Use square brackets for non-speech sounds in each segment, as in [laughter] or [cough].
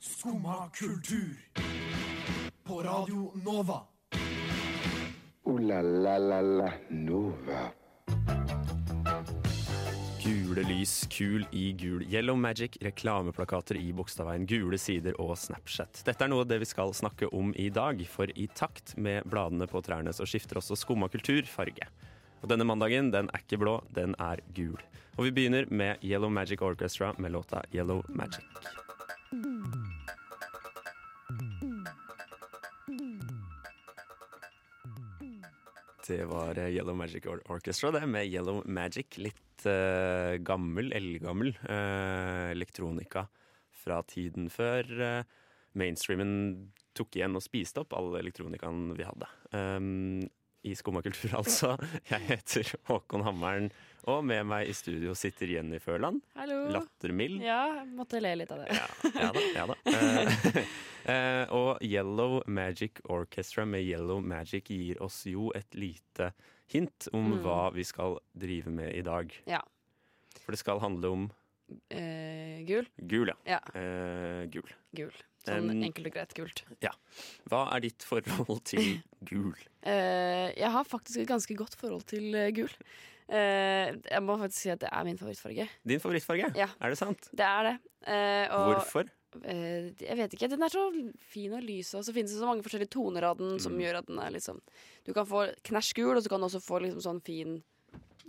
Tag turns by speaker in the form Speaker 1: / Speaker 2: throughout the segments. Speaker 1: Skumma kultur. På Radio Nova.
Speaker 2: Ooh Uh, la la la la Nova.
Speaker 3: Gule lys, kul i gul, Yellow Magic, reklameplakater i Bogstadveien, gule sider og Snapchat. Dette er noe av det vi skal snakke om i dag, for i takt med bladene på trærne så skifter også skumma kultur farge. Og denne mandagen, den er ikke blå, den er gul. Og vi begynner med Yellow Magic Orchestra med låta Yellow Magic. Det var eh, Yellow Magic Or- Orchestra, det, med Yellow Magic. Litt eh, gammel, eldgammel eh, elektronika fra tiden før eh, mainstreamen tok igjen og spiste opp all elektronikaen vi hadde. Um, I Skummakultur, [laughs] altså. Jeg heter Håkon Hammeren, og med meg i studio sitter Jenny Førland.
Speaker 4: Hallo.
Speaker 3: Lattermild.
Speaker 4: Ja, måtte le litt av det.
Speaker 3: Ja da. ja da Eh, eh, [laughs] Og Yellow Magic Orchestra med Yellow Magic gir oss jo et lite hint om hva vi skal drive med i dag.
Speaker 4: Mm. Ja.
Speaker 3: For det skal handle om
Speaker 4: Eh, gul?
Speaker 3: gul, ja.
Speaker 4: Ja,
Speaker 3: Eh, gul.
Speaker 4: gul. Sånn
Speaker 3: Um,
Speaker 4: enkelt og greit gult.
Speaker 3: Hva er ditt forhold
Speaker 4: [laughs]
Speaker 3: til gul?
Speaker 4: Eh, jeg har faktisk et ganske godt forhold til eh, gul. Eh, jeg må faktisk si at det er min favorittfarge.
Speaker 3: Din favorittfarge,
Speaker 4: Ja.
Speaker 3: er det sant?
Speaker 4: Det er det. Eh, og,
Speaker 3: Hvorfor?
Speaker 4: eh, jeg vet ikke. Den er så fin og lys, og så finnes det så mange forskjellige toner av den
Speaker 3: Mm.
Speaker 4: som gjør at den er liksom Du kan få knæsj gul, og så kan du også få liksom sånn fin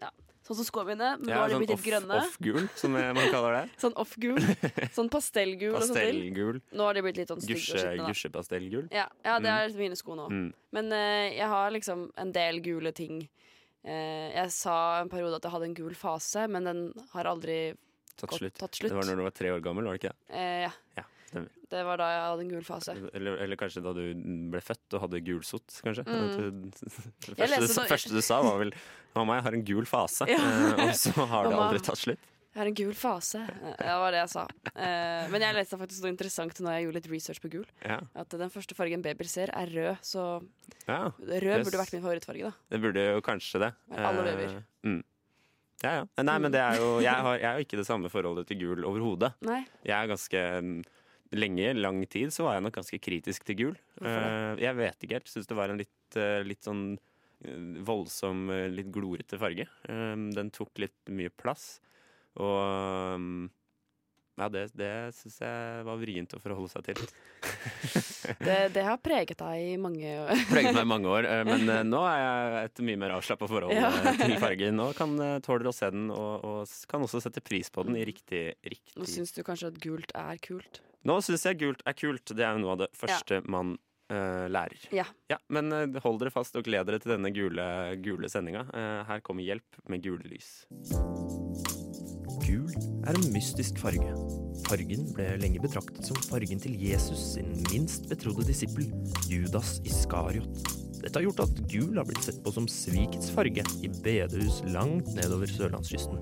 Speaker 4: ja, Sånn som skoene mine, men nå
Speaker 3: Ja,
Speaker 4: har de
Speaker 3: sånn
Speaker 4: blitt litt grønne.
Speaker 3: off-gul, som eh, man kaller det.
Speaker 4: Sånn
Speaker 3: [laughs]
Speaker 4: off-gul. Sånn pastellgul og sånn til.
Speaker 3: Pastellgul.
Speaker 4: Nå har de blitt litt sånn stygge og
Speaker 3: Gusje-
Speaker 4: skitne. da.
Speaker 3: Gusjepastellgul.
Speaker 4: Ja, ja det er liksom mine sko nå.
Speaker 3: Mm.
Speaker 4: Men eh, jeg har liksom en del gule ting. Eh, jeg sa en periode at jeg hadde en gul fase, men den har aldri
Speaker 3: Tatt
Speaker 4: Godt,
Speaker 3: slutt.
Speaker 4: tatt slutt.
Speaker 3: Det var når du var tre år gammel, var det ikke? det?
Speaker 4: eh, Ja,
Speaker 3: Ja, stemmer.
Speaker 4: det var da jeg hadde en gul fase.
Speaker 3: Eller, eller kanskje da du ble født og hadde gulsott, kanskje. At du- [laughs] Det
Speaker 4: Mm. Jeg
Speaker 3: første,
Speaker 4: leser
Speaker 3: du sa-
Speaker 4: noe-
Speaker 3: første du sa, var vel 'mamma, jeg har en gul fase',
Speaker 4: [laughs] Ja.
Speaker 3: eh, og så har det
Speaker 4: Mamma.
Speaker 3: aldri tatt slutt.
Speaker 4: Jeg har en gul fase. Eh, Det var det jeg sa. Eh, men jeg leste faktisk noe interessant når jeg gjorde litt research på gul.
Speaker 3: Ja.
Speaker 4: At den første fargen babyer ser, er rød. Så
Speaker 3: ja,
Speaker 4: rød burde vært min favorittfarge, da.
Speaker 3: det burde jo kanskje det.
Speaker 4: Men alle
Speaker 3: Eh,
Speaker 4: lever.
Speaker 3: Mm. Ja, ja. Nei, men det er jo Jeg har, jeg har ikke det samme forholdet til gul overhodet.
Speaker 4: Nei.
Speaker 3: Jeg er ganske mm, Lenge, lang tid, så var jeg nok ganske kritisk til gul.
Speaker 4: Hvorfor
Speaker 3: Eh, jeg vet ikke helt. Syns det var en litt, eh, litt sånn eh, voldsom, eh, litt glorete farge. Eh, den tok litt mye plass. Og mm, ja, det, det syns jeg var vrient å forholde seg til.
Speaker 4: Det, det har preget deg i mange
Speaker 3: [laughs] Preget meg i mange år, eh, men eh, nå er jeg et mye mer avslappa forhold
Speaker 4: Ja.
Speaker 3: eh, til fargen. Nå kan eh, tåler å se den, og, og s- kan også sette pris på den i riktig,
Speaker 4: Nå
Speaker 3: riktig
Speaker 4: syns du kanskje at gult er kult.
Speaker 3: Nå syns jeg gult er kult. Det er jo noe av det første man eh, lærer.
Speaker 4: Ja.
Speaker 3: Ja, Men eh, hold dere fast og gled dere til denne gule, gule sendinga. Eh, her kommer hjelp med gule lys.
Speaker 5: Gul er en mystisk farge. Fargen ble lenge betraktet som fargen til Jesus sin minst betrodde disippel, Judas Iskariot. Dette har gjort at gul har blitt sett på som svikets farge i bedehus langt nedover sørlandskysten.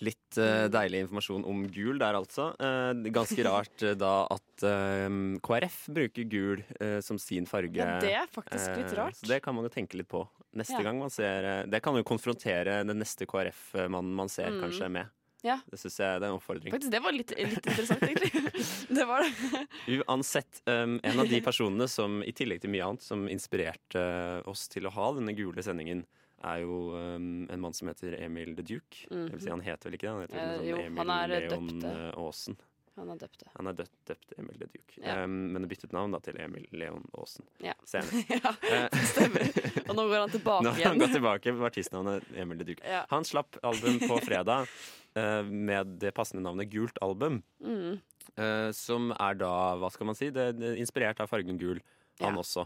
Speaker 3: Litt eh, deilig informasjon om gul der, altså. Eh, det er
Speaker 4: [laughs]
Speaker 3: ganske rart eh, da at eh, KrF bruker gul eh, som sin farge.
Speaker 4: ja, det er faktisk litt
Speaker 3: Eh,
Speaker 4: rart.
Speaker 3: Så det kan man jo tenke litt på neste
Speaker 4: Ja.
Speaker 3: gang man ser eh, Det kan jo konfrontere den neste KrF-mannen man ser,
Speaker 4: Mm.
Speaker 3: kanskje, med.
Speaker 4: Ja.
Speaker 3: Det syns jeg det er en oppfordring.
Speaker 4: Faktisk, det var litt, litt interessant,
Speaker 3: [laughs]
Speaker 4: egentlig. Det var det.
Speaker 3: Uansett, um, en av de personene som i tillegg til mye annet som inspirerte eh, oss til å ha denne gule sendingen, er jo um, en mann som heter Emil The Duke. Det vil si, han heter vel ikke det? Han heter vel noe
Speaker 4: Mhm. Eh,
Speaker 3: sånn
Speaker 4: jo,
Speaker 3: Emil
Speaker 4: han er
Speaker 3: Leon
Speaker 4: døpt det.
Speaker 3: eh, Aasen.
Speaker 4: Han har døpt det.
Speaker 3: Han er døpt, døpt Emil The Duke.
Speaker 4: Ja.
Speaker 3: Um, men har byttet navn da til Emil Leon Aasen [laughs]
Speaker 4: Ja. [laughs]
Speaker 3: senere.
Speaker 4: ja,
Speaker 3: Eh,
Speaker 4: stemmer. Og nå går han
Speaker 3: Nå
Speaker 4: tilbake
Speaker 3: har han gått
Speaker 4: igjen.
Speaker 3: tilbake med artistnavnet Emil The Duke.
Speaker 4: Ja.
Speaker 3: Han slapp album på fredag [laughs] eh, med det passende navnet Gult album.
Speaker 4: Mm.
Speaker 3: eh, som er da, hva skal man si, det, det er inspirert av fargen gul, han
Speaker 4: Ja.
Speaker 3: også.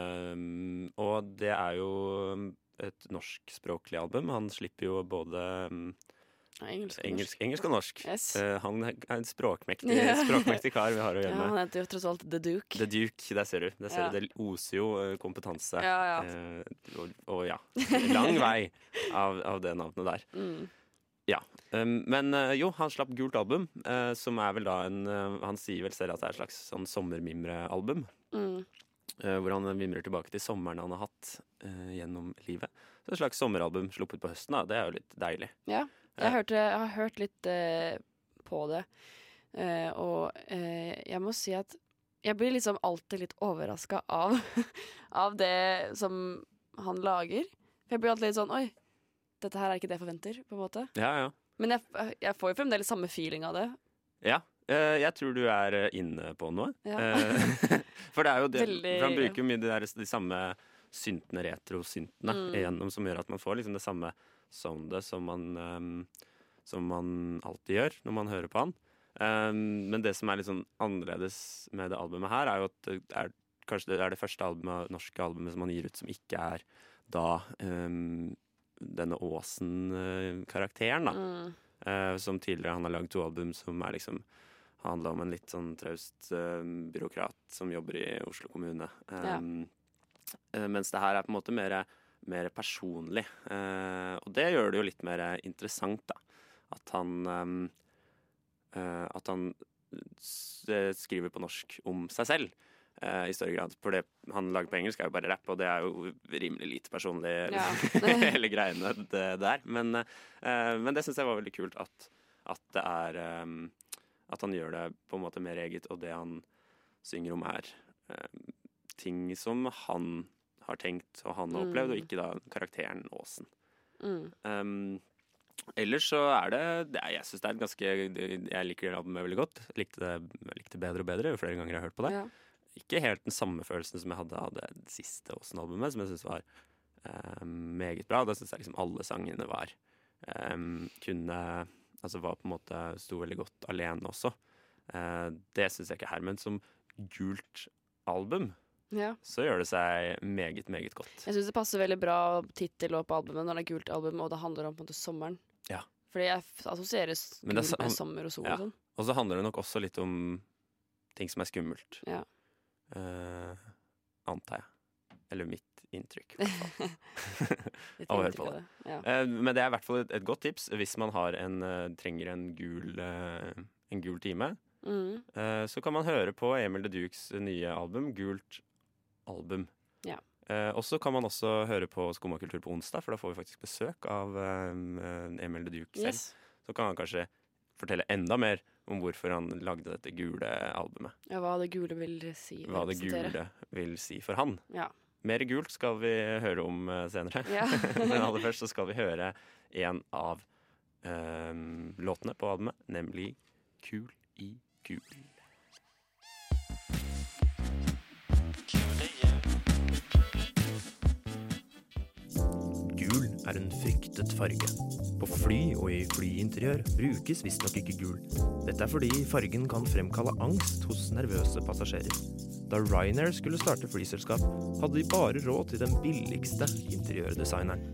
Speaker 3: Um, og det er jo et norskspråklig album. Han slipper jo både um,
Speaker 4: Ja, engelsk. og
Speaker 3: engelsk,
Speaker 4: norsk.
Speaker 3: engelsk og norsk.
Speaker 4: Yes.
Speaker 3: Eh, han er en språkmektig,
Speaker 4: [laughs] Ja.
Speaker 3: språkmektig kar vi har å
Speaker 4: Ja,
Speaker 3: gjøre
Speaker 4: han
Speaker 3: med.
Speaker 4: heter jo tross alt The Duke.
Speaker 3: The Duke, der ser du. Der ser
Speaker 4: Ja.
Speaker 3: du. Det oser jo eh, kompetanse.
Speaker 4: Ja, ja.
Speaker 3: Eh, og, og ja, lang vei av, av det navnet der.
Speaker 4: Mm.
Speaker 3: Ja, um, men eh, jo, han slapp Gult album, eh, som er vel da en eh, Han sier vel selv at det er et slags sånn sommermimrealbum.
Speaker 4: Mm.
Speaker 3: eh, hvor han vimrer tilbake til sommeren han har hatt eh, gjennom livet. Så et slags sommeralbum sluppet på høsten, da. Det er jo litt deilig.
Speaker 4: Ja. Jeg, hørte, jeg har hørt litt eh, på det. Eh, og eh, jeg må si at jeg blir liksom alltid litt overraska av, [laughs] av det som han lager. For jeg blir alltid litt sånn Oi, dette her er ikke det jeg forventer. på en måte
Speaker 3: Ja, ja.
Speaker 4: Men jeg, jeg får jo fremdeles samme feeling av det.
Speaker 3: Ja, eh, jeg tror du er eh, inne på noe.
Speaker 4: Ja.
Speaker 3: Eh, [laughs] for det er jo det
Speaker 4: Veldig-
Speaker 3: for Han bruker jo mye de, der, de samme syntene, retrosyntene,
Speaker 4: Mm.
Speaker 3: igjennom, som gjør at man får liksom det samme soundet som man, ehm, som man alltid gjør når man hører på han. Ehm, men det som er litt sånn annerledes med det albumet her, er jo at det er, kanskje det er det første albumet, norske albumet som han gir ut som ikke er da ehm, denne Aasen-karakteren, da.
Speaker 4: Mm.
Speaker 3: Eh, som tidligere han har lagd to album som er liksom handla om en litt sånn traust eh, byråkrat som jobber i Oslo kommune. Ehm, eh, mens det her er på en måte mer, mer personlig. Eh, og det gjør det jo litt mer interessant, da. At han ehm, eh, At han s eh, skriver på norsk om seg selv. eh, I større grad. For det han lager på engelsk, er jo bare rapp, og det er jo rimelig lite personlig,
Speaker 4: Ja.
Speaker 3: [laughs] hele greiene det der. Men eh, Eh, men det syns jeg var veldig kult at, at det er ehm, At han gjør det på en måte mer eget, og det han synger om, er ehm, ting som han har tenkt og han har opplevd, og ikke da karakteren Åsen.
Speaker 4: Mm.
Speaker 3: Ehm, ellers så er det, det er, Jeg syns det er et ganske Jeg liker det albumet veldig godt. Likte det, jeg likte det bedre og bedre jo flere ganger jeg har hørt på det.
Speaker 4: Ja.
Speaker 3: Ikke helt den samme følelsen som jeg hadde av det siste Åsen-albumet, som jeg syns var eh, meget bra. Da syns jeg liksom alle sangene var eh, kunne Altså var på en måte sto veldig godt alene også. Eh, det syns jeg ikke her, men som gult album
Speaker 4: ja.
Speaker 3: så gjør det seg meget, meget godt.
Speaker 4: Jeg syns det passer veldig bra tittel og på albumet når det er gult album, og det handler om på en måte sommeren.
Speaker 3: Ja.
Speaker 4: Fordi jeg f- assosierer s-
Speaker 3: Men det er
Speaker 4: gult med
Speaker 3: sa-
Speaker 4: sommer og sol
Speaker 3: Ja.
Speaker 4: og sånn.
Speaker 3: Og så handler det nok også litt om ting som er skummelt.
Speaker 4: Ja.
Speaker 3: Eh, antar jeg. Eller mitt inntrykk. i
Speaker 4: [laughs]
Speaker 3: hvert fall.
Speaker 4: Litt
Speaker 3: Å, hør
Speaker 4: inntrykk
Speaker 3: på
Speaker 4: av det. Ja.
Speaker 3: Eh, Men det er i hvert fall et, et godt tips hvis man har en, eh, trenger en gul, eh, en gul time.
Speaker 4: Mm.
Speaker 3: Eh, så kan man høre på Emil de Dukes nye album, Gult album.
Speaker 4: Ja.
Speaker 3: Eh, og så kan man også høre på Skumma kultur på onsdag, for da får vi faktisk besøk av eh, Emil de Duke selv.
Speaker 4: Yes.
Speaker 3: Så kan han kanskje fortelle enda mer om hvorfor han lagde dette gule albumet.
Speaker 4: Ja, hva det gule vil si.
Speaker 3: Hva det
Speaker 4: representere.
Speaker 3: [laughs] gule vil si for han.
Speaker 4: Ja.
Speaker 3: Mer gult skal vi høre om eh, senere.
Speaker 4: Ja.
Speaker 3: [laughs] Men aller først så skal vi høre en av ehm, låtene på albumet, nemlig Kul i gul.
Speaker 5: Gul er en fryktet farge. På fly og i flyinteriør brukes visstnok ikke gul. Dette er fordi fargen kan fremkalle angst hos nervøse passasjerer. Da Ryanair skulle starte flyselskap, hadde de bare råd til den billigste interiørdesigneren.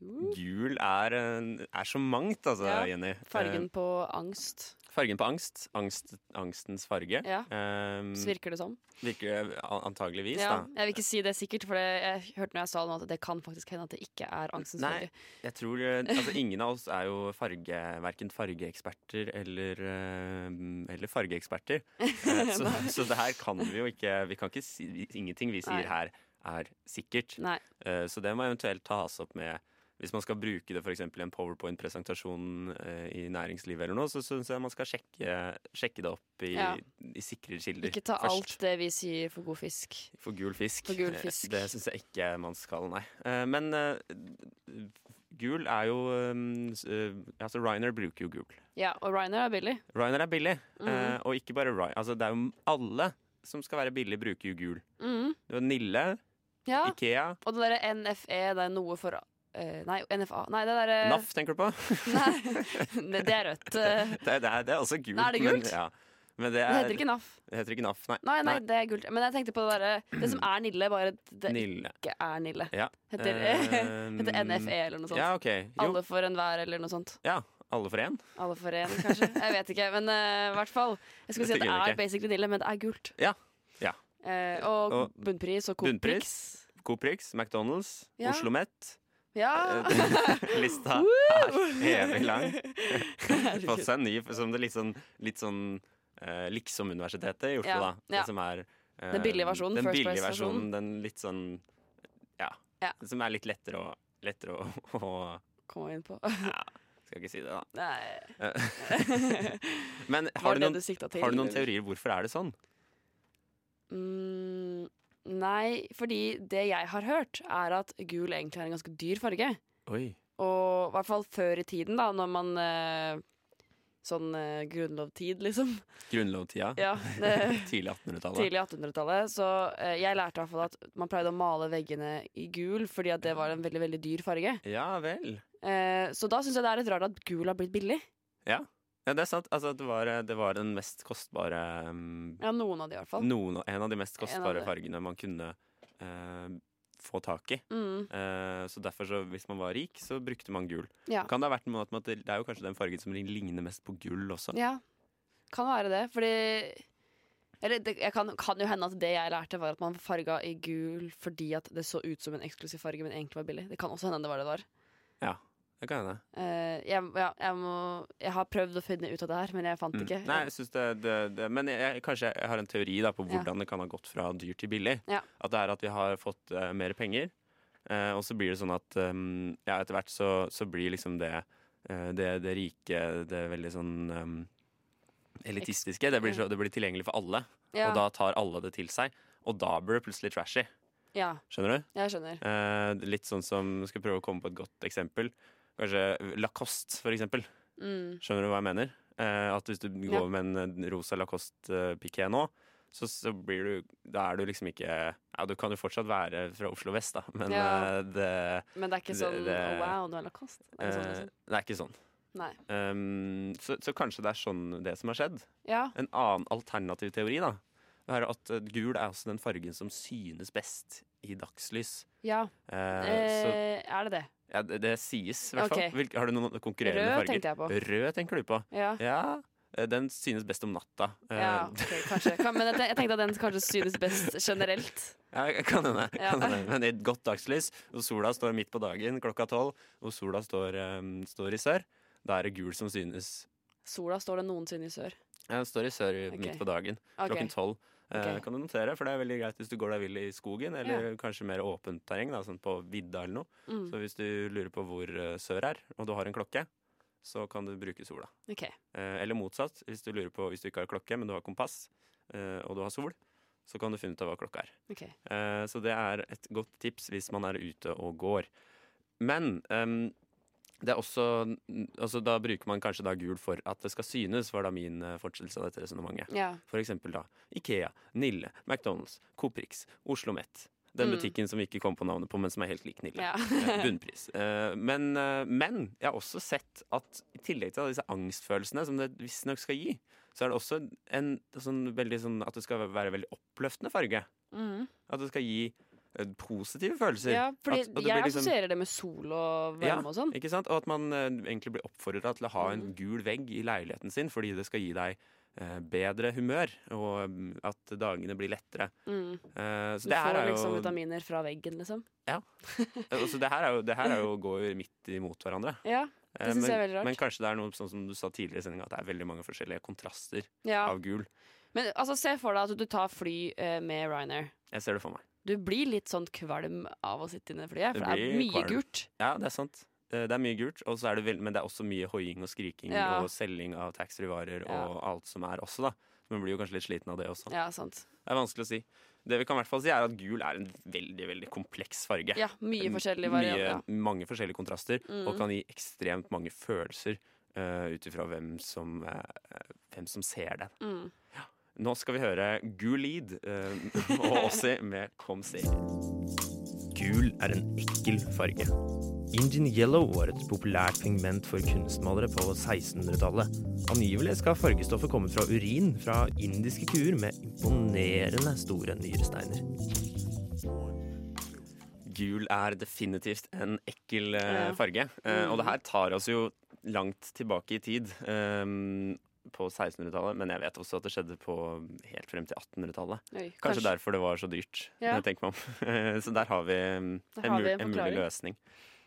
Speaker 4: Jo.
Speaker 3: Gul er, en- er så mangt, altså,
Speaker 4: Ja,
Speaker 3: Jenny.
Speaker 4: Fargen på angst,
Speaker 3: Eh, fargen på angst. angst angstens farge.
Speaker 4: Ja.
Speaker 3: Ehm,
Speaker 4: så virker det som.
Speaker 3: virker det a- antageligvis,
Speaker 4: Ja,
Speaker 3: da.
Speaker 4: jeg vil ikke si det sikkert, for det, jeg hørte når jeg sa det nå at det kan faktisk hende at det ikke er angstens
Speaker 3: Nei.
Speaker 4: farge.
Speaker 3: Jeg tror eh, altså, Ingen av oss er jo farge, verken fargeeksperter eller, eh, eller fargeeksperter.
Speaker 4: [laughs]
Speaker 3: Eh, Så, så det her kan vi jo ikke Vi kan ikke si vi- Ingenting vi sier her, er sikkert.
Speaker 4: Nei.
Speaker 3: Eh, Så det må eventuelt tas opp med Hvis man skal bruke det for eksempel i en powerpoint-presentasjon eh, i næringslivet eller noe, så syns jeg man skal sjekke, sjekke det opp i,
Speaker 4: Ja.
Speaker 3: i sikre kilder
Speaker 4: Ikke ta alt
Speaker 3: først.
Speaker 4: det vi sier for god fisk.
Speaker 3: For gul fisk.
Speaker 4: For gul
Speaker 3: Eh,
Speaker 4: fisk.
Speaker 3: Det syns jeg ikke man skal, nei. Eh, Men eh, gul er jo eh, s- eh, Altså Ryanair bruker jo gul.
Speaker 4: Ja, og Ryanair er billig.
Speaker 3: Ryanair er billig, eh,
Speaker 4: Mhm.
Speaker 3: og ikke bare Ryanair. Altså, det er jo alle som skal være billig, bruker jo gul.
Speaker 4: Mhm.
Speaker 3: Det var Nille,
Speaker 4: Ja,
Speaker 3: Ikea,
Speaker 4: og det derre NFE, det er noe for eh, Nei, NFA. Nei, det derre
Speaker 3: NAF tenker du på?
Speaker 4: [laughs] Nei, det, det er rødt. eh,
Speaker 3: [laughs] Det, er- det, er, det er også gult.
Speaker 4: Nei, er det
Speaker 3: Men,
Speaker 4: gult?
Speaker 3: ja. men det,
Speaker 4: Det
Speaker 3: er,
Speaker 4: heter ikke NAF.
Speaker 3: NAF, nei.
Speaker 4: Nei, nei, det er gult. Men jeg tenkte på det derre Det som er Nille, bare at det
Speaker 3: Nille.
Speaker 4: ikke er Nille.
Speaker 3: Ja.
Speaker 4: Heter, [laughs]
Speaker 3: Ehm,
Speaker 4: heter NFE eller noe sånt.
Speaker 3: Ja, ok. Jo, alle.
Speaker 4: Alle for enhver eller noe sånt.
Speaker 3: Ja, alle for én.
Speaker 4: Alle for én, kanskje. Jeg vet ikke, men eh, i hvert fall. Jeg skulle si at
Speaker 3: Dette
Speaker 4: det
Speaker 3: gidder
Speaker 4: er
Speaker 3: ikke.
Speaker 4: basically Nille, men det er gult.
Speaker 3: Ja. Ja.
Speaker 4: Eh, og,
Speaker 3: Og
Speaker 4: bunnpris og Coop-prix.
Speaker 3: Bunnpris, Coprix, McDonald's,
Speaker 4: Ja. Ah.
Speaker 3: Oslo Met.
Speaker 4: Ja.
Speaker 3: Eh, [laughs]
Speaker 4: [laughs]
Speaker 3: Lista er evig lang. Fått seg en ny som det litt sånn, litt sånn eh, liksom-universitetet i Oslo,
Speaker 4: Ja,
Speaker 3: da. Det
Speaker 4: ja.
Speaker 3: som er eh,
Speaker 4: Den billige versjonen,
Speaker 3: Den
Speaker 4: first
Speaker 3: billige
Speaker 4: price-versjonen.
Speaker 3: versjonen, den litt sånn Ja.
Speaker 4: Ja.
Speaker 3: Som er litt lettere [laughs] å, lettere å, å
Speaker 4: Kom inn på. [laughs]
Speaker 3: Skal ikke si det, da.
Speaker 4: Nei. [laughs]
Speaker 3: Men
Speaker 4: Var
Speaker 3: eh, har du,
Speaker 4: det
Speaker 3: noen,
Speaker 4: det du sikta til?
Speaker 3: har du noen
Speaker 4: eller?
Speaker 3: teorier? Hvorfor er det sånn?
Speaker 4: Mm, nei, fordi det jeg har hørt, er at gul egentlig er en ganske dyr farge.
Speaker 3: Oi.
Speaker 4: Og i hvert fall før i tiden, da, når man eh, Sånn eh, grunnlovtid, liksom.
Speaker 3: Grunnlovtida.
Speaker 4: Ja, det,
Speaker 3: [laughs] Tidlig 1800-tallet.
Speaker 4: Tidlig 1800-tallet. Så eh, jeg lærte i hvert fall at man pleide å male veggene i gul, fordi at det var en veldig veldig dyr farge.
Speaker 3: Ja vel.
Speaker 4: Eh, så da syns jeg det er litt rart at gul har blitt billig.
Speaker 3: Ja, det er sant. Altså, det, var, det var den mest kostbare um,
Speaker 4: Ja, noen av de i hvert fall.
Speaker 3: noen, av- En av de mest
Speaker 4: En av
Speaker 3: kostbare
Speaker 4: de.
Speaker 3: fargene man kunne eh, få tak i.
Speaker 4: Mm,
Speaker 3: Eh, så derfor, så, hvis man var rik, så brukte man gul.
Speaker 4: ja.
Speaker 3: Kan det ha vært noe med at det det er jo kanskje den fargen som ligner mest på gull også?
Speaker 4: ja. Kan være det, fordi Eller det jeg kan, kan jo hende at det jeg lærte, var at man farga i gul fordi at det så ut som en eksklusiv farge, men egentlig var billig. Det kan også hende det var det det var.
Speaker 3: Det kan hende.
Speaker 4: Eh, jeg, ja, jeg, må, jeg har prøvd å finne ut av det her, men jeg fant
Speaker 3: Mm.
Speaker 4: ikke.
Speaker 3: Nei, jeg synes det, det, det Men jeg, jeg, kanskje jeg har en teori da på
Speaker 4: Ja.
Speaker 3: hvordan det kan ha gått fra dyr til billig.
Speaker 4: Ja.
Speaker 3: At det er at vi har fått eh, mer penger, eh, og så blir det sånn at um, ja, etter hvert så, så blir liksom det, eh, det det rike, det veldig sånn um, elitistiske, det blir, så, det blir tilgjengelig for alle.
Speaker 4: ja,
Speaker 3: Og da tar alle det til seg. Og da blir det plutselig trashy.
Speaker 4: ja,
Speaker 3: Skjønner du?
Speaker 4: jeg skjønner.
Speaker 3: Eh, litt sånn som Skal prøve å komme på et godt eksempel. Kanskje Lacoste, for eksempel.
Speaker 4: Mm.
Speaker 3: Skjønner du hva jeg mener? Eh, at hvis du går med en eh, rosa Lacoste-piké nå, så, så blir du Da er du liksom ikke Ja, du kan jo fortsatt være fra Oslo vest, da, men
Speaker 4: Ja.
Speaker 3: eh, det,
Speaker 4: Men det er ikke
Speaker 3: Det-
Speaker 4: sånn
Speaker 3: det-
Speaker 4: «Å, Wow, du er lacoste. Det er ikke sånn,
Speaker 3: eh,
Speaker 4: liksom.
Speaker 3: det er ikke sånn.
Speaker 4: Nei.
Speaker 3: Um, så, så kanskje det er sånn det som har skjedd.
Speaker 4: Ja.
Speaker 3: En annen alternativ teori, da, er at eh, gul er også den fargen som synes best i dagslys.
Speaker 4: ja.
Speaker 3: Eh, så
Speaker 4: Eh, er det det?
Speaker 3: ja, det, det sies, i hvert
Speaker 4: Ok.
Speaker 3: fall. Hvilke- Har du noen konkurrerende
Speaker 4: Rød
Speaker 3: farger?
Speaker 4: tenkte jeg på.
Speaker 3: Rød tenker du på.
Speaker 4: Ja.
Speaker 3: Ja, eh, den synes best om natta. Eh,
Speaker 4: ja ok, kanskje. Kan, men jeg ten- jeg tenkte at den kanskje synes best generelt.
Speaker 3: Ja, kan hende.
Speaker 4: Ja.
Speaker 3: Kan hende. Men i et godt dagslys, og sola står midt på dagen klokka tolv, og sola står, eh, står i sør, da er det gul som synes.
Speaker 4: Sola står det noensinne i sør.
Speaker 3: Ja, den står i sør i-
Speaker 4: Ok.
Speaker 3: midt på dagen
Speaker 4: Ok.
Speaker 3: klokken tolv. Eh,
Speaker 4: Ok.
Speaker 3: Kan du notere, for det er veldig greit hvis du går deg vill i skogen, eller kanskje mer åpent terreng, da, sånn på vidda eller noe.
Speaker 4: Mm.
Speaker 3: Så hvis du lurer på hvor eh, sør er, og du har en klokke, så kan du bruke sola.
Speaker 4: ok.
Speaker 3: Eh, Eller motsatt, hvis du lurer på hvis du ikke har klokke, men du har kompass, eh, og du har sol, så kan du finne ut av hva klokka er.
Speaker 4: ok.
Speaker 3: Eh, Så det er et godt tips hvis man er ute og går. Men ehm, det er også altså Da bruker man kanskje da gul for at det skal synes, var da min eh, fortsettelse av dette resonnementet.
Speaker 4: Ja.
Speaker 3: For eksempel da Ikea, Nille, McDonald's, Coprix, Oslo Met. Den
Speaker 4: Mm.
Speaker 3: butikken som vi ikke kom på navnet på, men som er helt lik Nille.
Speaker 4: ja. [laughs]
Speaker 3: Eh, Bunnpris. Eh, Men, eh, men jeg har også sett at i tillegg til alle disse angstfølelsene som det visstnok skal gi, så er det også en sånn veldig sånn at det skal være veldig oppløftende farge.
Speaker 4: Mm.
Speaker 3: At det skal gi eh, positive følelser.
Speaker 4: ja fordi
Speaker 3: At- at det blir
Speaker 4: jeg
Speaker 3: liksom-
Speaker 4: assosierer det med sol og
Speaker 3: Ja,
Speaker 4: varme og sånn.
Speaker 3: Ikke sant? Og at man eh, egentlig blir oppfordra til å ha en gul vegg i leiligheten sin fordi det skal gi deg eh, bedre humør, og mm, at dagene blir lettere.
Speaker 4: Mm.
Speaker 3: Eh, så
Speaker 4: Du
Speaker 3: det her
Speaker 4: får
Speaker 3: er jo
Speaker 4: liksom vitaminer fra veggen, liksom.
Speaker 3: eh, Så det her er jo, det her er jo å gå midt imot hverandre.
Speaker 4: Ja.
Speaker 3: Eh,
Speaker 4: Det synes jeg er
Speaker 3: men,
Speaker 4: veldig rart.
Speaker 3: men kanskje det er noe sånn som du sa tidligere i sendinga, at det er veldig mange forskjellige kontraster
Speaker 4: ja.
Speaker 3: av gul.
Speaker 4: Men altså, se for deg at du tar fly eh, med Ryanair.
Speaker 3: Jeg ser det for meg.
Speaker 4: Du blir litt sånn kvalm av å sitte inne i flyet,
Speaker 3: Du
Speaker 4: for det er
Speaker 3: blir
Speaker 4: mye
Speaker 3: kvalm.
Speaker 4: gult.
Speaker 3: Ja, det er sant. Eh, Det er mye gult, og så er det vel- men det er også mye hoiing og skriking
Speaker 4: Ja.
Speaker 3: og selging av taxfree-varer
Speaker 4: Ja.
Speaker 3: og alt som er også, da. Man blir jo kanskje litt sliten av det også.
Speaker 4: Ja, sant.
Speaker 3: Det er vanskelig å si. Det vi kan i hvert fall si, er at gul er en veldig, veldig kompleks farge.
Speaker 4: Ja, mye
Speaker 3: M- mye-
Speaker 4: forskjellige varianter.
Speaker 3: Mange forskjellige kontraster,
Speaker 4: Mm.
Speaker 3: og kan gi ekstremt mange følelser uh, ut ifra hvem, som, eh, hvem som ser den.
Speaker 4: Ja. Mm.
Speaker 3: Nå skal vi høre Gul Lead eh, [laughs] og Åssi med Kom se.
Speaker 5: Gul er en ekkel farge. Indian yellow var et populært pigment for kunstmalere på 1600-tallet. Angivelig skal fargestoffet komme fra urin fra indiske kuer med imponerende store nyresteiner.
Speaker 3: Gul er definitivt en ekkel eh,
Speaker 4: Ja.
Speaker 3: farge. Eh, Og det
Speaker 4: Mm.
Speaker 3: her tar oss jo langt tilbake i tid. ehm, på 1600-tallet, men jeg vet også at det skjedde på helt frem til 1800-tallet.
Speaker 4: Oi,
Speaker 3: Kanskje, derfor det var så dyrt.
Speaker 4: Ja.
Speaker 3: når jeg tenker meg om. [laughs] så der har vi mm,
Speaker 4: Der
Speaker 3: en,
Speaker 4: har
Speaker 3: mul
Speaker 4: vi en
Speaker 3: en, mulig
Speaker 4: forklaring.
Speaker 3: løsning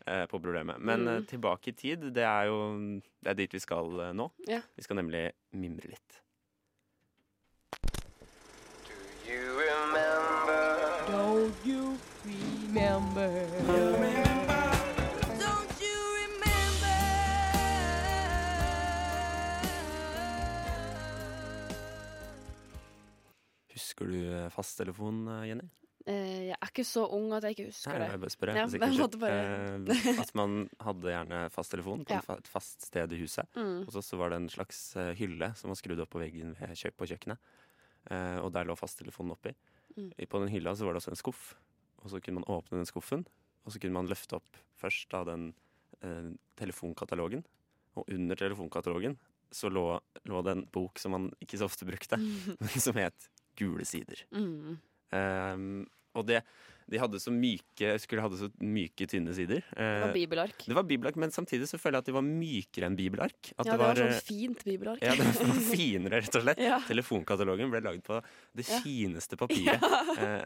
Speaker 3: eh, på problemet. Men
Speaker 4: Mm.
Speaker 3: eh, tilbake i tid, det er jo det er dit vi skal eh, nå.
Speaker 4: Ja.
Speaker 3: Vi skal nemlig mimre litt.
Speaker 2: You remember
Speaker 6: Don't you remember?
Speaker 7: Don't you remember?
Speaker 3: Husker du eh, fasttelefon, eh, Jenny?
Speaker 4: Eh, jeg er ikke så ung at jeg ikke husker
Speaker 3: Nei,
Speaker 4: det.
Speaker 3: jeg bare spør, jeg,
Speaker 4: Ja,
Speaker 3: for
Speaker 4: jeg
Speaker 3: sikkerhets
Speaker 4: måtte
Speaker 3: skyld. Eh, At man hadde gjerne fasttelefon på
Speaker 4: Ja.
Speaker 3: en fa- et fast sted i huset.
Speaker 4: Mm.
Speaker 3: Og så- så var det en slags eh, hylle som var skrudd opp på veggen ved kjø på kjøkkenet. Eh, og der lå fasttelefonen oppi.
Speaker 4: Mm.
Speaker 3: I- På den hylla så var det også en skuff. Og så kunne man åpne den skuffen, og så kunne man løfte opp først da den eh, telefonkatalogen. Og under telefonkatalogen så lå, lå det en bok som man ikke så ofte brukte, [laughs] men som het Gule sider.
Speaker 4: Mm.
Speaker 3: Ehm, og det, de hadde så myke, jeg skulle hadde så myke, tynne sider.
Speaker 4: Det
Speaker 3: Eh,
Speaker 4: var bibelark.
Speaker 3: det var bibelark, men samtidig så føler jeg at de var mykere enn bibelark. At
Speaker 4: ja, det var,
Speaker 3: eh,
Speaker 4: sånn fint bibelark.
Speaker 3: ja,
Speaker 4: [laughs]
Speaker 3: det var finere, rett og slett.
Speaker 4: Ja.
Speaker 3: Telefonkatalogen ble laget på det
Speaker 4: [laughs] Ja.
Speaker 3: fineste papiret. Eh,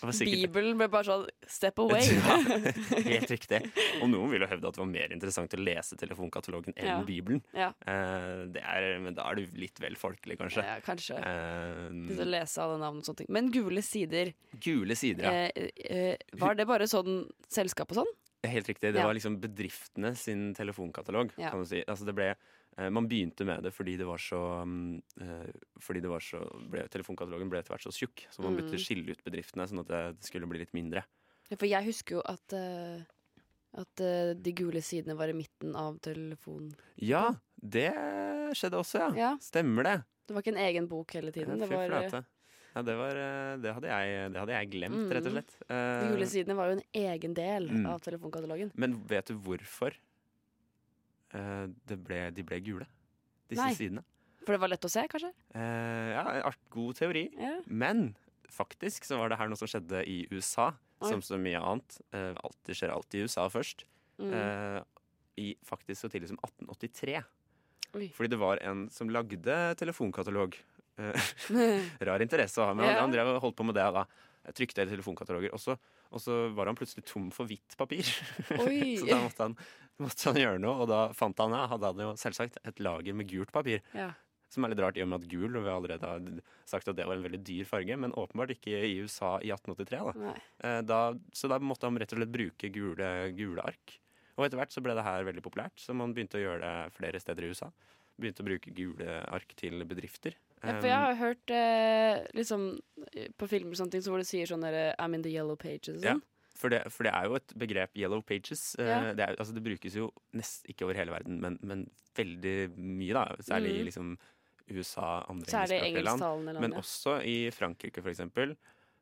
Speaker 3: det var sikkert-
Speaker 4: Bibelen ble bare sånn step
Speaker 3: [laughs]
Speaker 4: away.
Speaker 3: Ja, helt riktig. Og noen ville hevde at det var mer interessant å lese telefonkatalogen enn
Speaker 4: Ja.
Speaker 3: Bibelen.
Speaker 4: Ja.
Speaker 3: Eh, det er, men da er du litt vel folkelig, kanskje.
Speaker 4: ja, kanskje. Litt å
Speaker 3: Eh,
Speaker 4: lese alle navn og sånne ting. Men Gule sider,
Speaker 3: gule sider, ja.
Speaker 4: eh, eh, var det bare sånn selskap og sånn?
Speaker 3: Helt riktig. Det
Speaker 4: Ja.
Speaker 3: var liksom bedriftene sin telefonkatalog.
Speaker 4: Ja.
Speaker 3: kan du si. Altså det ble, eh, man begynte med det fordi det var så, mm, eh, fordi det var så ble, Telefonkatalogen ble etter hvert så tjukk, så man
Speaker 4: Mm.
Speaker 3: begynte å skille ut bedriftene, sånn at det, det skulle bli litt mindre.
Speaker 4: Ja, For jeg husker jo at, eh, at eh, de gule sidene var i midten av telefonen.
Speaker 3: Ja, det skjedde også, ja.
Speaker 4: Ja,
Speaker 3: Stemmer det.
Speaker 4: Det var ikke en egen bok hele tiden. Det
Speaker 3: Fy
Speaker 4: var, eh,
Speaker 3: flate. Ja, det, var, eh, det, hadde jeg, det hadde jeg glemt,
Speaker 4: Mm.
Speaker 3: rett og slett.
Speaker 4: de
Speaker 3: Eh,
Speaker 4: gule sidene var jo en egen del
Speaker 3: Mm.
Speaker 4: av telefonkatalogen.
Speaker 3: men vet du hvorfor eh, det ble, de ble gule, disse
Speaker 4: Nei.
Speaker 3: sidene?
Speaker 4: For det var lett å se, kanskje?
Speaker 3: Eh, ja, art, god teori.
Speaker 4: Ja.
Speaker 3: Men faktisk så var det her noe som skjedde i USA,
Speaker 4: Oi.
Speaker 3: som så mye annet. Eh, alltid skjer alltid i USA først.
Speaker 4: Mm.
Speaker 3: Eh, i, faktisk så tidlig som 1883.
Speaker 4: Oi.
Speaker 3: Fordi det var en som lagde telefonkatalog. Eh, rar interesse å ha, men
Speaker 4: Ja.
Speaker 3: han, han drev og holdt på med det da. Trykte telefonkataloger. Og så, og så var han plutselig tom for hvitt papir. [laughs]
Speaker 4: Oi.
Speaker 3: så da måtte han, måtte han gjøre noe, og da fant han ja, hadde han jo selvsagt et lager med gult papir.
Speaker 4: [laughs] ja.
Speaker 3: Som er litt rart i og med at gul, og vi har allerede har sagt at det var en veldig dyr farge, men åpenbart ikke i USA i 1883. Da.
Speaker 4: Nei.
Speaker 3: Eh, Da, så da måtte han rett og slett bruke gule, gule ark. Og etter hvert så ble det her veldig populært, så man begynte å gjøre det flere steder i USA. Begynte å bruke gule ark til bedrifter. Ehm,
Speaker 4: Ja, for jeg
Speaker 3: Um.
Speaker 4: har hørt eh, liksom, eh, på filmer og sånne ting så hvor de sier sånn derre I'm in the yellow pages og
Speaker 3: Ja.
Speaker 4: sånn.
Speaker 3: For det, for det er jo et begrep, yellow pages. Eh,
Speaker 4: Ja.
Speaker 3: Det, er, altså det brukes jo nesten ikke over hele verden, men, men veldig mye, da. Særlig i
Speaker 4: Mm.
Speaker 3: liksom USA, andre
Speaker 4: Særlig
Speaker 3: engelskspråklige land.
Speaker 4: engelsktalende land.
Speaker 3: Men også i Frankrike, for eksempel.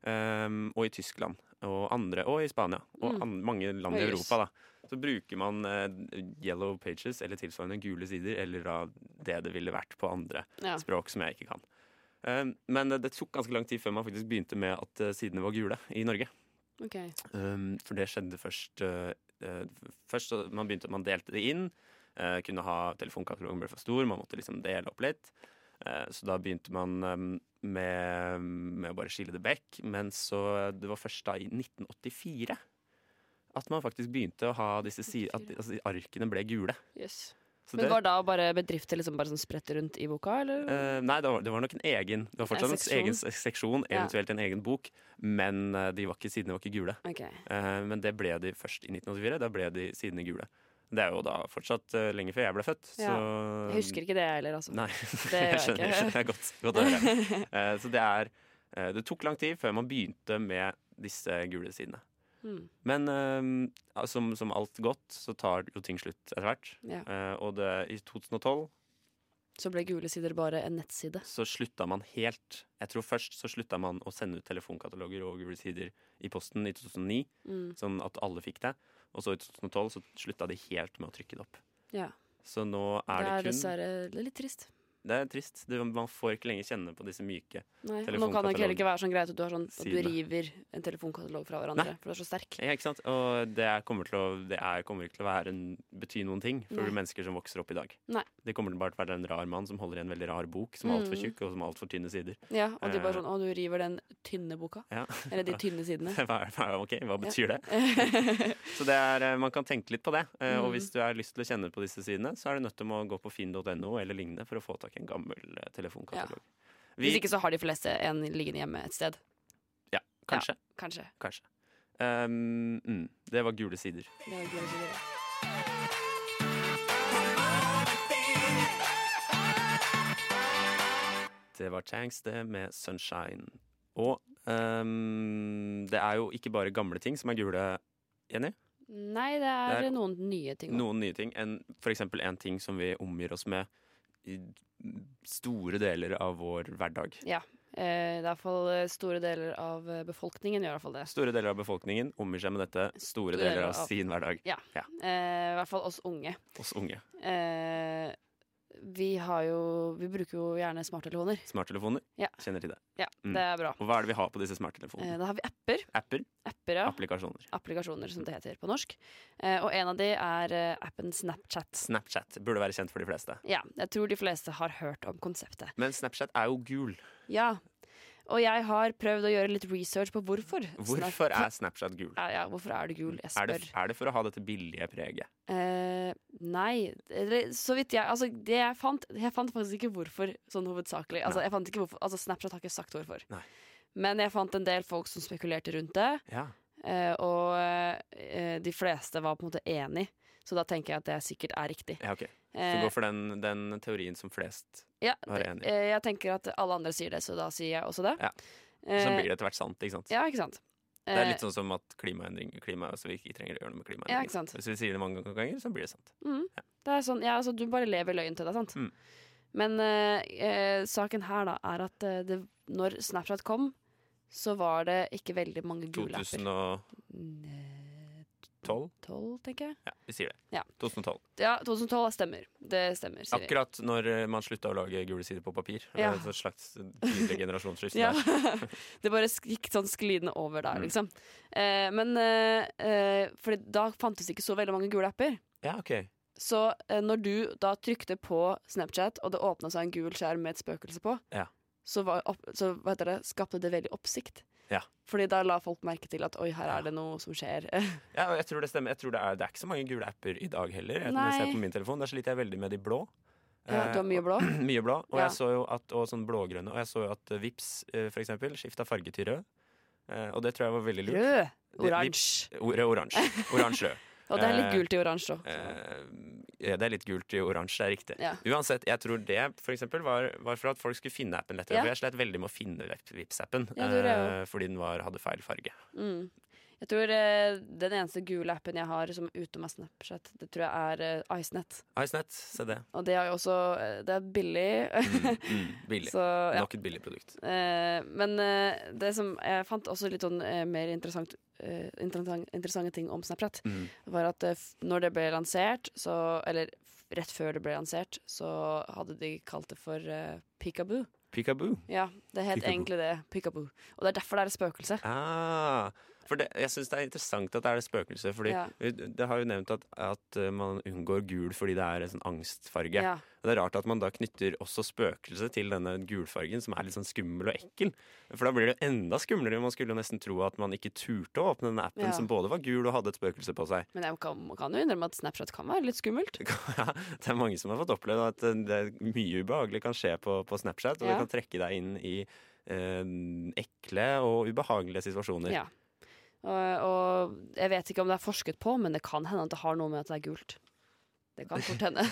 Speaker 3: ehm, og i Tyskland. Og, andre, og i Spania. Og
Speaker 4: Mm.
Speaker 3: an, mange land i
Speaker 4: Og jus.
Speaker 3: Europa. da. Så bruker man eh, yellow pages, eller tilsvarende gule sider, eller da det det ville vært på andre
Speaker 4: ja.
Speaker 3: språk som jeg ikke kan. Ehm, men det, det tok ganske lang tid før man faktisk begynte med at eh, sidene var gule i Norge.
Speaker 4: Ja. Ok.
Speaker 3: Ehm, for det skjedde først eh, eh, Først så man begynte man delte det inn. eh, kunne ha Telefonkatalogen ble for stor, man måtte liksom dele opp litt. Eh, så da begynte man ehm, med, med å bare skille det vekk. Men så det var først da i 1984 at man faktisk begynte å ha disse si at
Speaker 4: 84.
Speaker 3: altså, arkene ble gule.
Speaker 4: Yes.
Speaker 3: Så
Speaker 4: Men
Speaker 3: det-
Speaker 4: var da bare bedrifter liksom bare sånn spredt rundt i boka, eller?
Speaker 3: Eh, nei, det var, det var nok en egen Det var
Speaker 4: En
Speaker 3: fortsatt en,
Speaker 4: seksjon.
Speaker 3: egen se- seksjon,
Speaker 4: Ja.
Speaker 3: eventuelt en egen bok, men eh, de var ikke sidene var ikke gule.
Speaker 4: Ok.
Speaker 3: Eh, Men det ble de først i 1984. Da ble de sidene gule. Det er jo da fortsatt eh, lenge før jeg ble født.
Speaker 4: Ja.
Speaker 3: Så
Speaker 4: Jeg husker ikke det heller, altså.
Speaker 3: Nei, [laughs]
Speaker 4: gjør
Speaker 3: jeg
Speaker 4: jeg
Speaker 3: skjønner,
Speaker 4: ikke.
Speaker 3: skjønner jeg godt, godt å
Speaker 4: [laughs]
Speaker 3: høre. Eh, Så det er eh, Det tok lang tid før man begynte med disse gule sidene.
Speaker 4: Mm.
Speaker 3: Men eh, ja, som, som alt godt, så tar jo ting slutt etter hvert.
Speaker 4: Ja.
Speaker 3: Eh, Og det, i 2012
Speaker 4: Så ble Gule sider bare en nettside.
Speaker 3: så slutta man helt Jeg tror først så slutta man å sende ut telefonkataloger og gule sider i posten i 2009,
Speaker 4: Mm.
Speaker 3: sånn at alle fikk det. Og så i 2012 så slutta de helt med å trykke det opp.
Speaker 4: Ja.
Speaker 3: Så nå
Speaker 4: Det
Speaker 3: er det,
Speaker 4: er
Speaker 3: kun
Speaker 4: dessverre det er litt trist.
Speaker 3: Det er trist. Det, man får ikke lenger kjenne på disse myke.
Speaker 4: Nei. Og nå kan det ikke heller ikke være sånn greit at du, har sånn, at du
Speaker 3: Sidene.
Speaker 4: river en telefonkatalog fra hverandre, for du er så sterk.
Speaker 3: Ja, ikke sant? Og det er- kommer til å, det er, kommer ikke til å være en, bety noen ting for
Speaker 4: Nei.
Speaker 3: mennesker som vokser opp i dag.
Speaker 4: Nei.
Speaker 3: Det kommer til bare til å være en rar mann som holder i en veldig rar bok som er altfor
Speaker 4: Mm.
Speaker 3: tjukk og som har altfor tynne sider.
Speaker 4: Ja, og de
Speaker 3: Eh.
Speaker 4: bare sånn Å, du river den tynne boka.
Speaker 3: Ja.
Speaker 4: Eller de tynne sidene.
Speaker 3: [laughs] Hva, er- hva, er- ok, hva betyr
Speaker 4: [laughs]
Speaker 3: det? så det er, eh, man kan tenke litt på det. Eh, Og
Speaker 4: Mm.
Speaker 3: hvis du har lyst til å kjenne på disse sidene, så er du nødt til å gå på finn.no eller lignende for å få tak i en gammel eh, telefonkatalog.
Speaker 4: Hvis ikke så har de fleste en liggende hjemme et sted.
Speaker 3: Kanskje.
Speaker 4: Kanskje.
Speaker 3: Kanskje. Um, mm, det var gule sider.
Speaker 4: Det var Gule sider.
Speaker 3: Det var Changs det med Sunshine. Og ehm, det er jo ikke bare gamle ting som er gule, Jenny.
Speaker 4: Nei, det er,
Speaker 3: Det er-
Speaker 4: noen nye ting. også.
Speaker 3: Noen nye ting. En, for eksempel en ting som vi omgir oss med i store deler av vår hverdag.
Speaker 4: Eh, det er i hvert fall eh, store deler av eh, befolkningen gjør i hvert fall det.
Speaker 3: Store deler av befolkningen omgir seg med dette store deler av sin hverdag.
Speaker 4: Eh, I hvert fall oss unge.
Speaker 3: Oss unge.
Speaker 4: Eh, vi har jo Vi bruker jo gjerne smarttelefoner.
Speaker 3: Smarttelefoner
Speaker 4: Ja.
Speaker 3: kjenner til det.
Speaker 4: Ja,
Speaker 3: Mm.
Speaker 4: det er bra.
Speaker 3: Og hva er det vi har på disse
Speaker 4: Eh,
Speaker 3: smarttelefonene?
Speaker 4: da har vi apper.
Speaker 3: Apper?
Speaker 4: Apper, ja.
Speaker 3: Applikasjoner.
Speaker 4: Applikasjoner, som det heter på norsk. Eh, og en av de er eh, appen Snapchat.
Speaker 3: Snapchat burde være kjent for de fleste.
Speaker 4: Ja, jeg tror de fleste har hørt om konseptet.
Speaker 3: Men Snapchat er jo gul.
Speaker 4: Ja. Og jeg har prøvd å gjøre litt research på hvorfor.
Speaker 3: Hvorfor er Snapchat gul?
Speaker 4: ja, ja, hvorfor er det gul? Jeg
Speaker 3: Er
Speaker 4: spør.
Speaker 3: det, er det for å ha dette billige preget?
Speaker 4: Eh, nei, eller så vidt jeg Altså, det jeg fant Jeg fant faktisk ikke hvorfor, sånn hovedsakelig. Altså,
Speaker 3: Nei.
Speaker 4: jeg fant ikke hvorfor, altså Snapchat har ikke sagt hvorfor.
Speaker 3: Nei.
Speaker 4: Men jeg fant en del folk som spekulerte rundt det,
Speaker 3: Ja.
Speaker 4: eh, og eh, de fleste var på en måte enig. Så da tenker jeg at det sikkert er riktig.
Speaker 3: ja ok. Så
Speaker 4: Eh,
Speaker 3: gå for den, den teorien som flest
Speaker 4: ja,
Speaker 3: var
Speaker 4: det-
Speaker 3: enig.
Speaker 4: eh, jeg tenker at alle andre sier det, så da sier jeg også det.
Speaker 3: Ja. Som blir det etter hvert sant, ikke sant?
Speaker 4: Eh, Ja, ikke sant.
Speaker 3: Det er
Speaker 4: Eh,
Speaker 3: litt sånn som at klimaendring klima, så vi ikke trenger å gjøre noe med klimaendring.
Speaker 4: ikke sant.
Speaker 3: Hvis vi sier det mange ganger, så blir det sant.
Speaker 4: Mm. Det er sånn, ja, altså, du bare lever løgn til deg, sant?
Speaker 3: Mm.
Speaker 4: Men eh, eh, saken her da er at eh, det, når Snapchat kom, så var det ikke veldig mange gule apper.
Speaker 3: 2012?
Speaker 4: 2012, tenker jeg.
Speaker 3: Ja, vi sier det.
Speaker 4: Ja.
Speaker 3: 2012.
Speaker 4: Ja, 2012 stemmer. Det stemmer, sier vi.
Speaker 3: Akkurat når eh, man slutta å lage gule sider på papir.
Speaker 4: Ja.
Speaker 3: Det er Et slags tydelig generasjonsskifte.
Speaker 4: Ja.
Speaker 3: der.
Speaker 4: [laughs] det bare sk- gikk sånn sklidende over der,
Speaker 3: Mm.
Speaker 4: liksom. Eh, men eh, eh, For da fantes ikke så veldig mange gule apper.
Speaker 3: ja, ok.
Speaker 4: Så eh, når du da trykte på Snapchat, og det åpna seg en gul skjerm med et spøkelse på,
Speaker 3: Ja.
Speaker 4: så, var opp, så hva heter det, skapte det veldig oppsikt.
Speaker 3: Ja.
Speaker 4: Fordi da la folk merke til at oi, her
Speaker 3: Ja.
Speaker 4: er det noe som skjer. [laughs]
Speaker 3: Ja, og jeg tror det stemmer. Jeg tror det, er, det er ikke så mange gule apper i dag heller. Jeg, når jeg
Speaker 4: Nei.
Speaker 3: ser på min telefon, Der sliter jeg veldig med de blå.
Speaker 4: Ja, du har mye blå.
Speaker 3: Eh, mye blå. Og, [clears throat]
Speaker 4: Ja.
Speaker 3: jeg så jo at, og sånn blågrønne. Og jeg så jo at eh, Vips eh, for eksempel skifta farge til rød. Eh, og det tror jeg var veldig lurt.
Speaker 4: Rød,
Speaker 3: Det-
Speaker 4: oransje.
Speaker 3: O- Rød,
Speaker 4: [laughs]
Speaker 3: oransje. Oransje-rød.
Speaker 4: Og det er litt
Speaker 3: Eh,
Speaker 4: gult i oransje òg.
Speaker 3: Eh, ja, det er litt gult i oransje, det er riktig.
Speaker 4: Ja.
Speaker 3: Uansett, jeg tror det for eksempel, var, var for at folk skulle finne appen lettere.
Speaker 4: Ja.
Speaker 3: For jeg slet veldig med å finne Vip- Vipps-appen
Speaker 4: Ja, det gjorde jeg
Speaker 3: eh, fordi den var, hadde feil farge.
Speaker 4: Mm. Jeg tror eh, den eneste gule appen jeg har som er utenom er Snapchat, det tror jeg er eh, Icenet.
Speaker 3: Icenet, se det.
Speaker 4: Og det er jo også eh, Det er billig.
Speaker 3: Mm, mm, billig.
Speaker 4: [laughs] så ja.
Speaker 3: Nok et billig produkt.
Speaker 4: Eh, men eh, det som jeg fant også litt sånn eh, mer interessant, eh, interessant, interessante ting om Snapchat,
Speaker 3: Mm.
Speaker 4: var at eh, f- når det ble lansert, så Eller f- rett før det ble lansert, så hadde de kalt det for eh, Peekaboo.
Speaker 3: Peekaboo.
Speaker 4: Ja, det het
Speaker 3: Peekaboo.
Speaker 4: egentlig det. Peekaboo. Og det er derfor det er et spøkelse.
Speaker 3: Ah, for det, jeg syns det er interessant at det er det spøkelset. Fordi
Speaker 4: Ja.
Speaker 3: Det har jo nevnt at, at eh, man unngår gul fordi det er en sånn angstfarge.
Speaker 4: Ja.
Speaker 3: Og Det er rart at man da knytter også spøkelse til denne gulfargen, som er litt sånn skummel og ekkel. For da blir det jo enda skumlere. Man skulle jo nesten tro at man ikke turte å åpne denne appen
Speaker 4: Ja.
Speaker 3: som både var gul og hadde et spøkelse på seg.
Speaker 4: Men jeg kan, man kan jo innrømme at Snapchat kan være litt skummelt.
Speaker 3: Ja, det er mange som har fått oppleve at eh, det er mye ubehagelig kan skje på, på Snapchat, og
Speaker 4: Ja.
Speaker 3: det kan trekke deg inn i eh, ekle og ubehagelige situasjoner.
Speaker 4: Ja. Og, og jeg vet ikke om det er forsket på, men det kan hende at det har noe med at det er gult. Det kan fort
Speaker 3: [laughs]
Speaker 4: hende.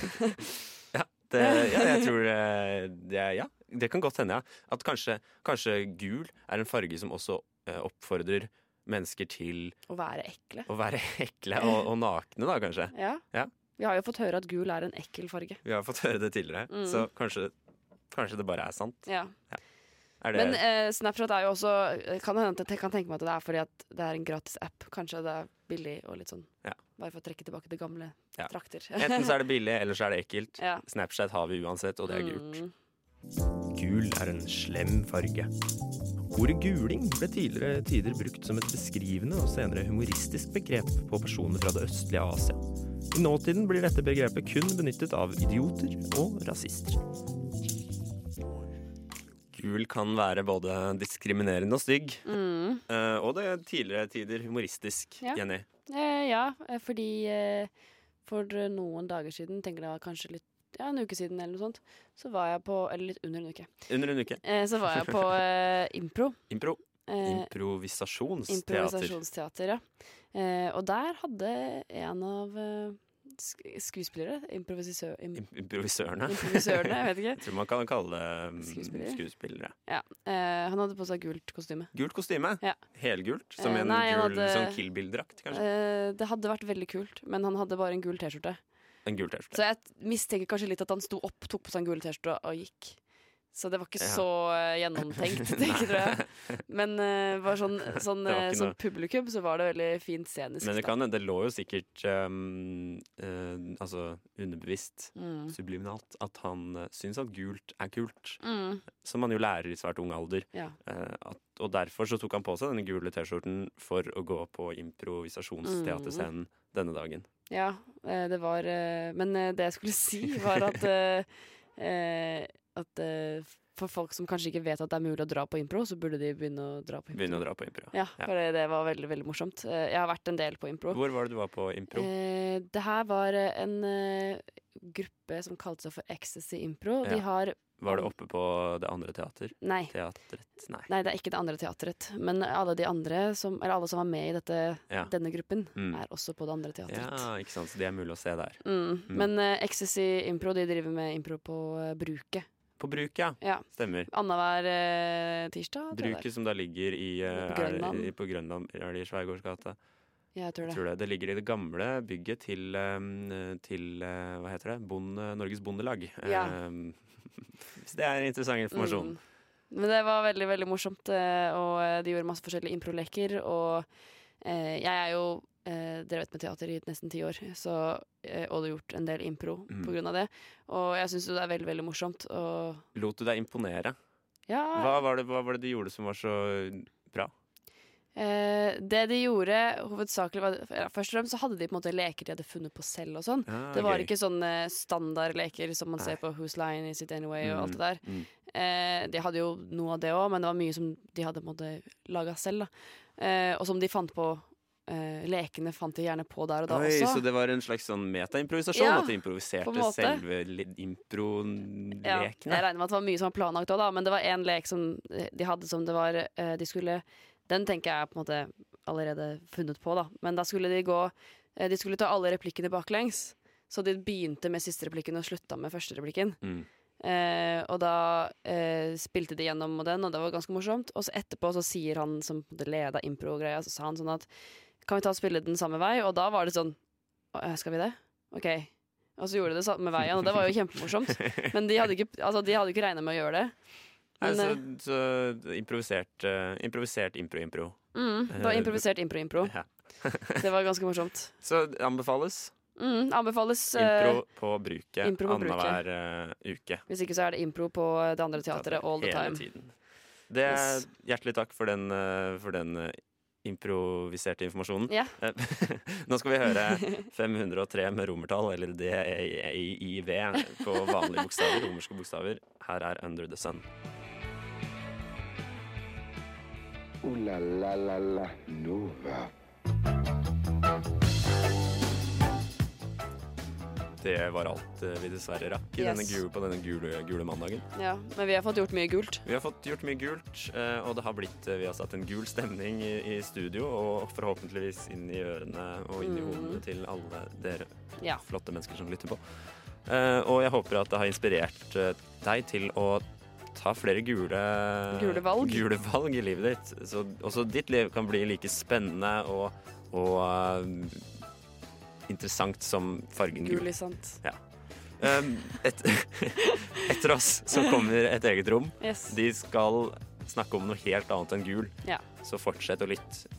Speaker 3: Det, ja, jeg tror eh, det, ja, det kan godt hende, ja. At kanskje, kanskje gul er en farge som også eh, oppfordrer mennesker til
Speaker 4: Å være ekle.
Speaker 3: å være ekle og, og nakne, da, kanskje.
Speaker 4: Ja.
Speaker 3: Ja.
Speaker 4: Vi har jo fått høre at gul er en ekkel farge.
Speaker 3: Vi har fått høre det tidligere,
Speaker 4: Mm.
Speaker 3: så kanskje, kanskje det bare er sant.
Speaker 4: Ja.
Speaker 3: Er det,
Speaker 4: Men eh, [laughs] Snapchat er jo også eh, kan hende, at Jeg kan tenke meg at det er fordi at det er en gratis app. Kanskje det er billig og litt sånn.
Speaker 3: Ja.
Speaker 4: Bare for å trekke tilbake til gamle
Speaker 3: Ja.
Speaker 4: trakter.
Speaker 3: enten så er det billig, eller så er det ekkelt.
Speaker 4: [laughs] ja.
Speaker 3: Snapchat har vi uansett, og det er gult.
Speaker 4: Mm.
Speaker 5: Gul er en slem farge. Ordet guling ble tidligere tider brukt som et beskrivende og senere humoristisk begrep på personer fra det østlige Asia. I nåtiden blir dette begrepet kun benyttet av idioter
Speaker 4: Mm.
Speaker 5: og rasister.
Speaker 3: Gul kan være både diskriminerende og stygg,
Speaker 4: Mm.
Speaker 3: eh, og det er tidligere tider humoristisk,
Speaker 4: Ja.
Speaker 3: Jenny.
Speaker 4: Eh, ja, eh, fordi eh, for noen dager siden, tenker jeg det var kanskje litt ja, en uke siden eller noe sånt, så var jeg på Eller litt under en uke.
Speaker 3: Under en uke.
Speaker 4: Eh, så var jeg på
Speaker 3: [laughs]
Speaker 4: eh, impro.
Speaker 3: Impro.
Speaker 4: Eh,
Speaker 3: Improvisasjonsteater.
Speaker 4: Improvisasjonsteater, ja. Eh, og der hadde en av eh, sk- skuespillere? Improvisør... Im
Speaker 3: Im- [laughs] Improvisørene.
Speaker 4: improvisørene, jeg vet ikke.
Speaker 3: Jeg tror man kan kalle det mm,
Speaker 4: Skuespillere.
Speaker 3: skuespillere.
Speaker 4: Ja. Eh, han hadde på seg gult kostyme.
Speaker 3: Gult kostyme.
Speaker 4: Ja.
Speaker 3: Helgult. Som
Speaker 4: Eh,
Speaker 3: en
Speaker 4: nei, han
Speaker 3: gul
Speaker 4: hadde-
Speaker 3: sånn Kill Bill-drakt, kanskje.
Speaker 4: Eh, det hadde vært veldig kult, men han hadde bare en gul T-skjorte.
Speaker 3: En gul T-skjorte.
Speaker 4: Eh, Så jeg t- mistenker kanskje litt at han sto opp, tok på seg en gul T-skjorte og gikk. Så det var ikke
Speaker 3: Ja.
Speaker 4: så eh,
Speaker 3: [laughs]
Speaker 4: gjennomtenkt, tenker, tror jeg. Men eh, bare sånn, sånn,
Speaker 3: Det var
Speaker 4: eh,
Speaker 3: ikke
Speaker 4: som
Speaker 3: noe-
Speaker 4: publikum så var det veldig fint scenisk.
Speaker 3: Men det
Speaker 4: da.
Speaker 3: kan hende, det lå jo sikkert um, eh, Altså underbevisst,
Speaker 4: Mm.
Speaker 3: subliminalt, at han uh, syns at gult er kult.
Speaker 4: Mm.
Speaker 3: Som man jo lærer i svært ung alder.
Speaker 4: Ja.
Speaker 3: Eh, at, og derfor så tok han på seg denne gule T-skjorten for å gå på
Speaker 4: Mm.
Speaker 3: improvisasjonsteaterscenen denne dagen.
Speaker 4: Ja, eh, det var eh, Men eh, det jeg skulle si, var
Speaker 3: [laughs]
Speaker 4: at eh, eh, At eh, for folk som kanskje ikke vet at det er mulig å dra på impro, så burde de begynne å dra på impro.
Speaker 3: Begynne å dra på impro.
Speaker 4: Ja,
Speaker 3: Ja.
Speaker 4: for det- det var veldig, veldig morsomt. Eh, Jeg har vært en del på impro.
Speaker 3: Hvor var det du var på impro?
Speaker 4: Eh, det her var eh, en eh, gruppe som kalte seg for Ecstasy Impro. De
Speaker 3: Ja.
Speaker 4: har
Speaker 3: Var det oppe på det andre teater?
Speaker 4: Nei.
Speaker 3: Teatret? Nei.
Speaker 4: Nei, det er ikke det andre teatret. Men alle de andre som, eller alle som var med i dette,
Speaker 3: Ja.
Speaker 4: denne gruppen,
Speaker 3: Mm.
Speaker 4: er også på det andre teatret.
Speaker 3: Ja, ikke sant. Så det er mulig å se der.
Speaker 4: Mm. Men eh, Ecstasy Impro de driver med impro på eh, Bruket.
Speaker 3: På Bruket, ja.
Speaker 4: Ja.
Speaker 3: Stemmer.
Speaker 4: Annenhver eh, tirsdag, tror jeg det er.
Speaker 3: Bruket som da ligger i eh,
Speaker 4: På
Speaker 3: er det
Speaker 4: Grønland.
Speaker 3: i- På Grønland. Er det i Sveigårdsgata?
Speaker 4: Ja, jeg tror det.
Speaker 3: Tror det. Det ligger i det gamle bygget til, eh, til eh, Hva heter det? Bonde, Norges Bondelag.
Speaker 4: Ja.
Speaker 3: Eh, [laughs] så det er interessant informasjon.
Speaker 4: Mm. Men det var veldig, veldig morsomt, eh, og eh, de gjorde masse forskjellige improleker. Og eh, jeg er jo eh, drevet med teater i nesten ti år, så, eh, og har gjort en del impro
Speaker 3: Mm.
Speaker 4: på grunn av det. Og jeg syns jo det er veldig, veldig morsomt. Og
Speaker 3: Lot du deg imponere?
Speaker 4: ja,
Speaker 3: Hva var, det, hva var det du gjorde som var så bra?
Speaker 4: eh, det de gjorde hovedsakelig var, ja, Først og fremst så hadde de på en måte leker de hadde funnet på selv og sånn.
Speaker 3: ah,
Speaker 4: Det var ikke sånne standardleker som man
Speaker 3: Nei.
Speaker 4: ser på Who's Line Is It Anyway og alt det der.
Speaker 3: Mm.
Speaker 4: Eh, de hadde jo noe av det òg, men det var mye som de hadde på en måte laga selv. Da. Eh, og som de fant på eh, Lekene fant de gjerne på der og da
Speaker 3: Oi,
Speaker 4: også.
Speaker 3: Så det var en slags sånn metaimprovisasjon?
Speaker 4: Ja,
Speaker 3: at du
Speaker 4: på en
Speaker 3: improviserte
Speaker 4: måte.
Speaker 3: selve li-
Speaker 4: ja,
Speaker 3: impro-lekene?
Speaker 4: jeg regner med at det var mye som var planlagt òg, da, men det var én lek som de hadde som det var eh, De skulle Den tenker jeg er på en måte allerede funnet på, da. Men da skulle de gå eh, De skulle ta alle replikkene baklengs. Så de begynte med siste replikken og slutta med første replikken.
Speaker 3: Mm.
Speaker 4: Eh, og da eh, spilte de gjennom og den, og det var ganske morsomt. Og så etterpå så sier han som på en måte leda impro-greia, så sa han sånn at kan vi ta og spille den samme vei? Og da var det sånn «Å, Skal vi det? OK. Og så gjorde de det samme veien, og det var jo kjempemorsomt. Men de hadde ikke, altså, de hadde ikke regna med å gjøre det.
Speaker 3: Nei,
Speaker 4: Men,
Speaker 3: så,
Speaker 4: eh,
Speaker 3: så improvisert eh, Improvisert impro-impro.
Speaker 4: mm, det var improvisert impro-impro.
Speaker 3: Ja.
Speaker 4: Det var ganske morsomt.
Speaker 3: Så det anbefales
Speaker 4: Mm, anbefales. eh,
Speaker 3: impro på bruket
Speaker 4: impro på bruket.
Speaker 3: annenhver eh, uke.
Speaker 4: hvis ikke så er det impro på eh, det andre teatret all the
Speaker 3: Hele
Speaker 4: time.
Speaker 3: tiden. Det er
Speaker 4: Yes.
Speaker 3: Hjertelig takk for den, eh, for den eh, improviserte informasjonen.
Speaker 4: Ja.
Speaker 3: Eh, [laughs] Nå skal vi høre 503 med romertall, eller DEIV, på vanlige bokstaver, romerske bokstaver. Her er Under the Sun.
Speaker 2: Ooh Uh, la la la la Nova.
Speaker 3: Det var alt eh, vi dessverre rakk i
Speaker 4: Yes.
Speaker 3: denne gule, på denne gule, gule mandagen.
Speaker 4: Ja, men vi har fått gjort mye gult.
Speaker 3: Vi har fått gjort mye gult, eh, og det har blitt, eh, vi har satt en gul stemning i, i studio, og forhåpentligvis inn i ørene og inn i hodene til alle dere
Speaker 4: Mm. Ja.
Speaker 3: flotte mennesker som lytter på. Eh, og jeg håper at det har inspirert eh, deg til å ta flere gule,
Speaker 4: Gule valg.
Speaker 3: gule valg i livet ditt. Så også ditt liv kan bli like spennende og, og eh, interessant som fargen gul.
Speaker 4: Gul i sant.
Speaker 3: Um, et, [laughs] etter oss så kommer et eget rom.
Speaker 4: Yes.
Speaker 3: De skal snakke om noe helt annet enn gul.
Speaker 4: Ja.
Speaker 3: Så fortsett å lytte.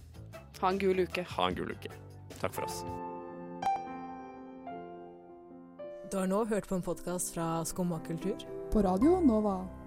Speaker 4: Ha en gul uke.
Speaker 3: Ha en gul uke. Takk for oss.
Speaker 6: Du har nå hørt på en podkast fra Skumma kultur.
Speaker 7: På Radio Nova.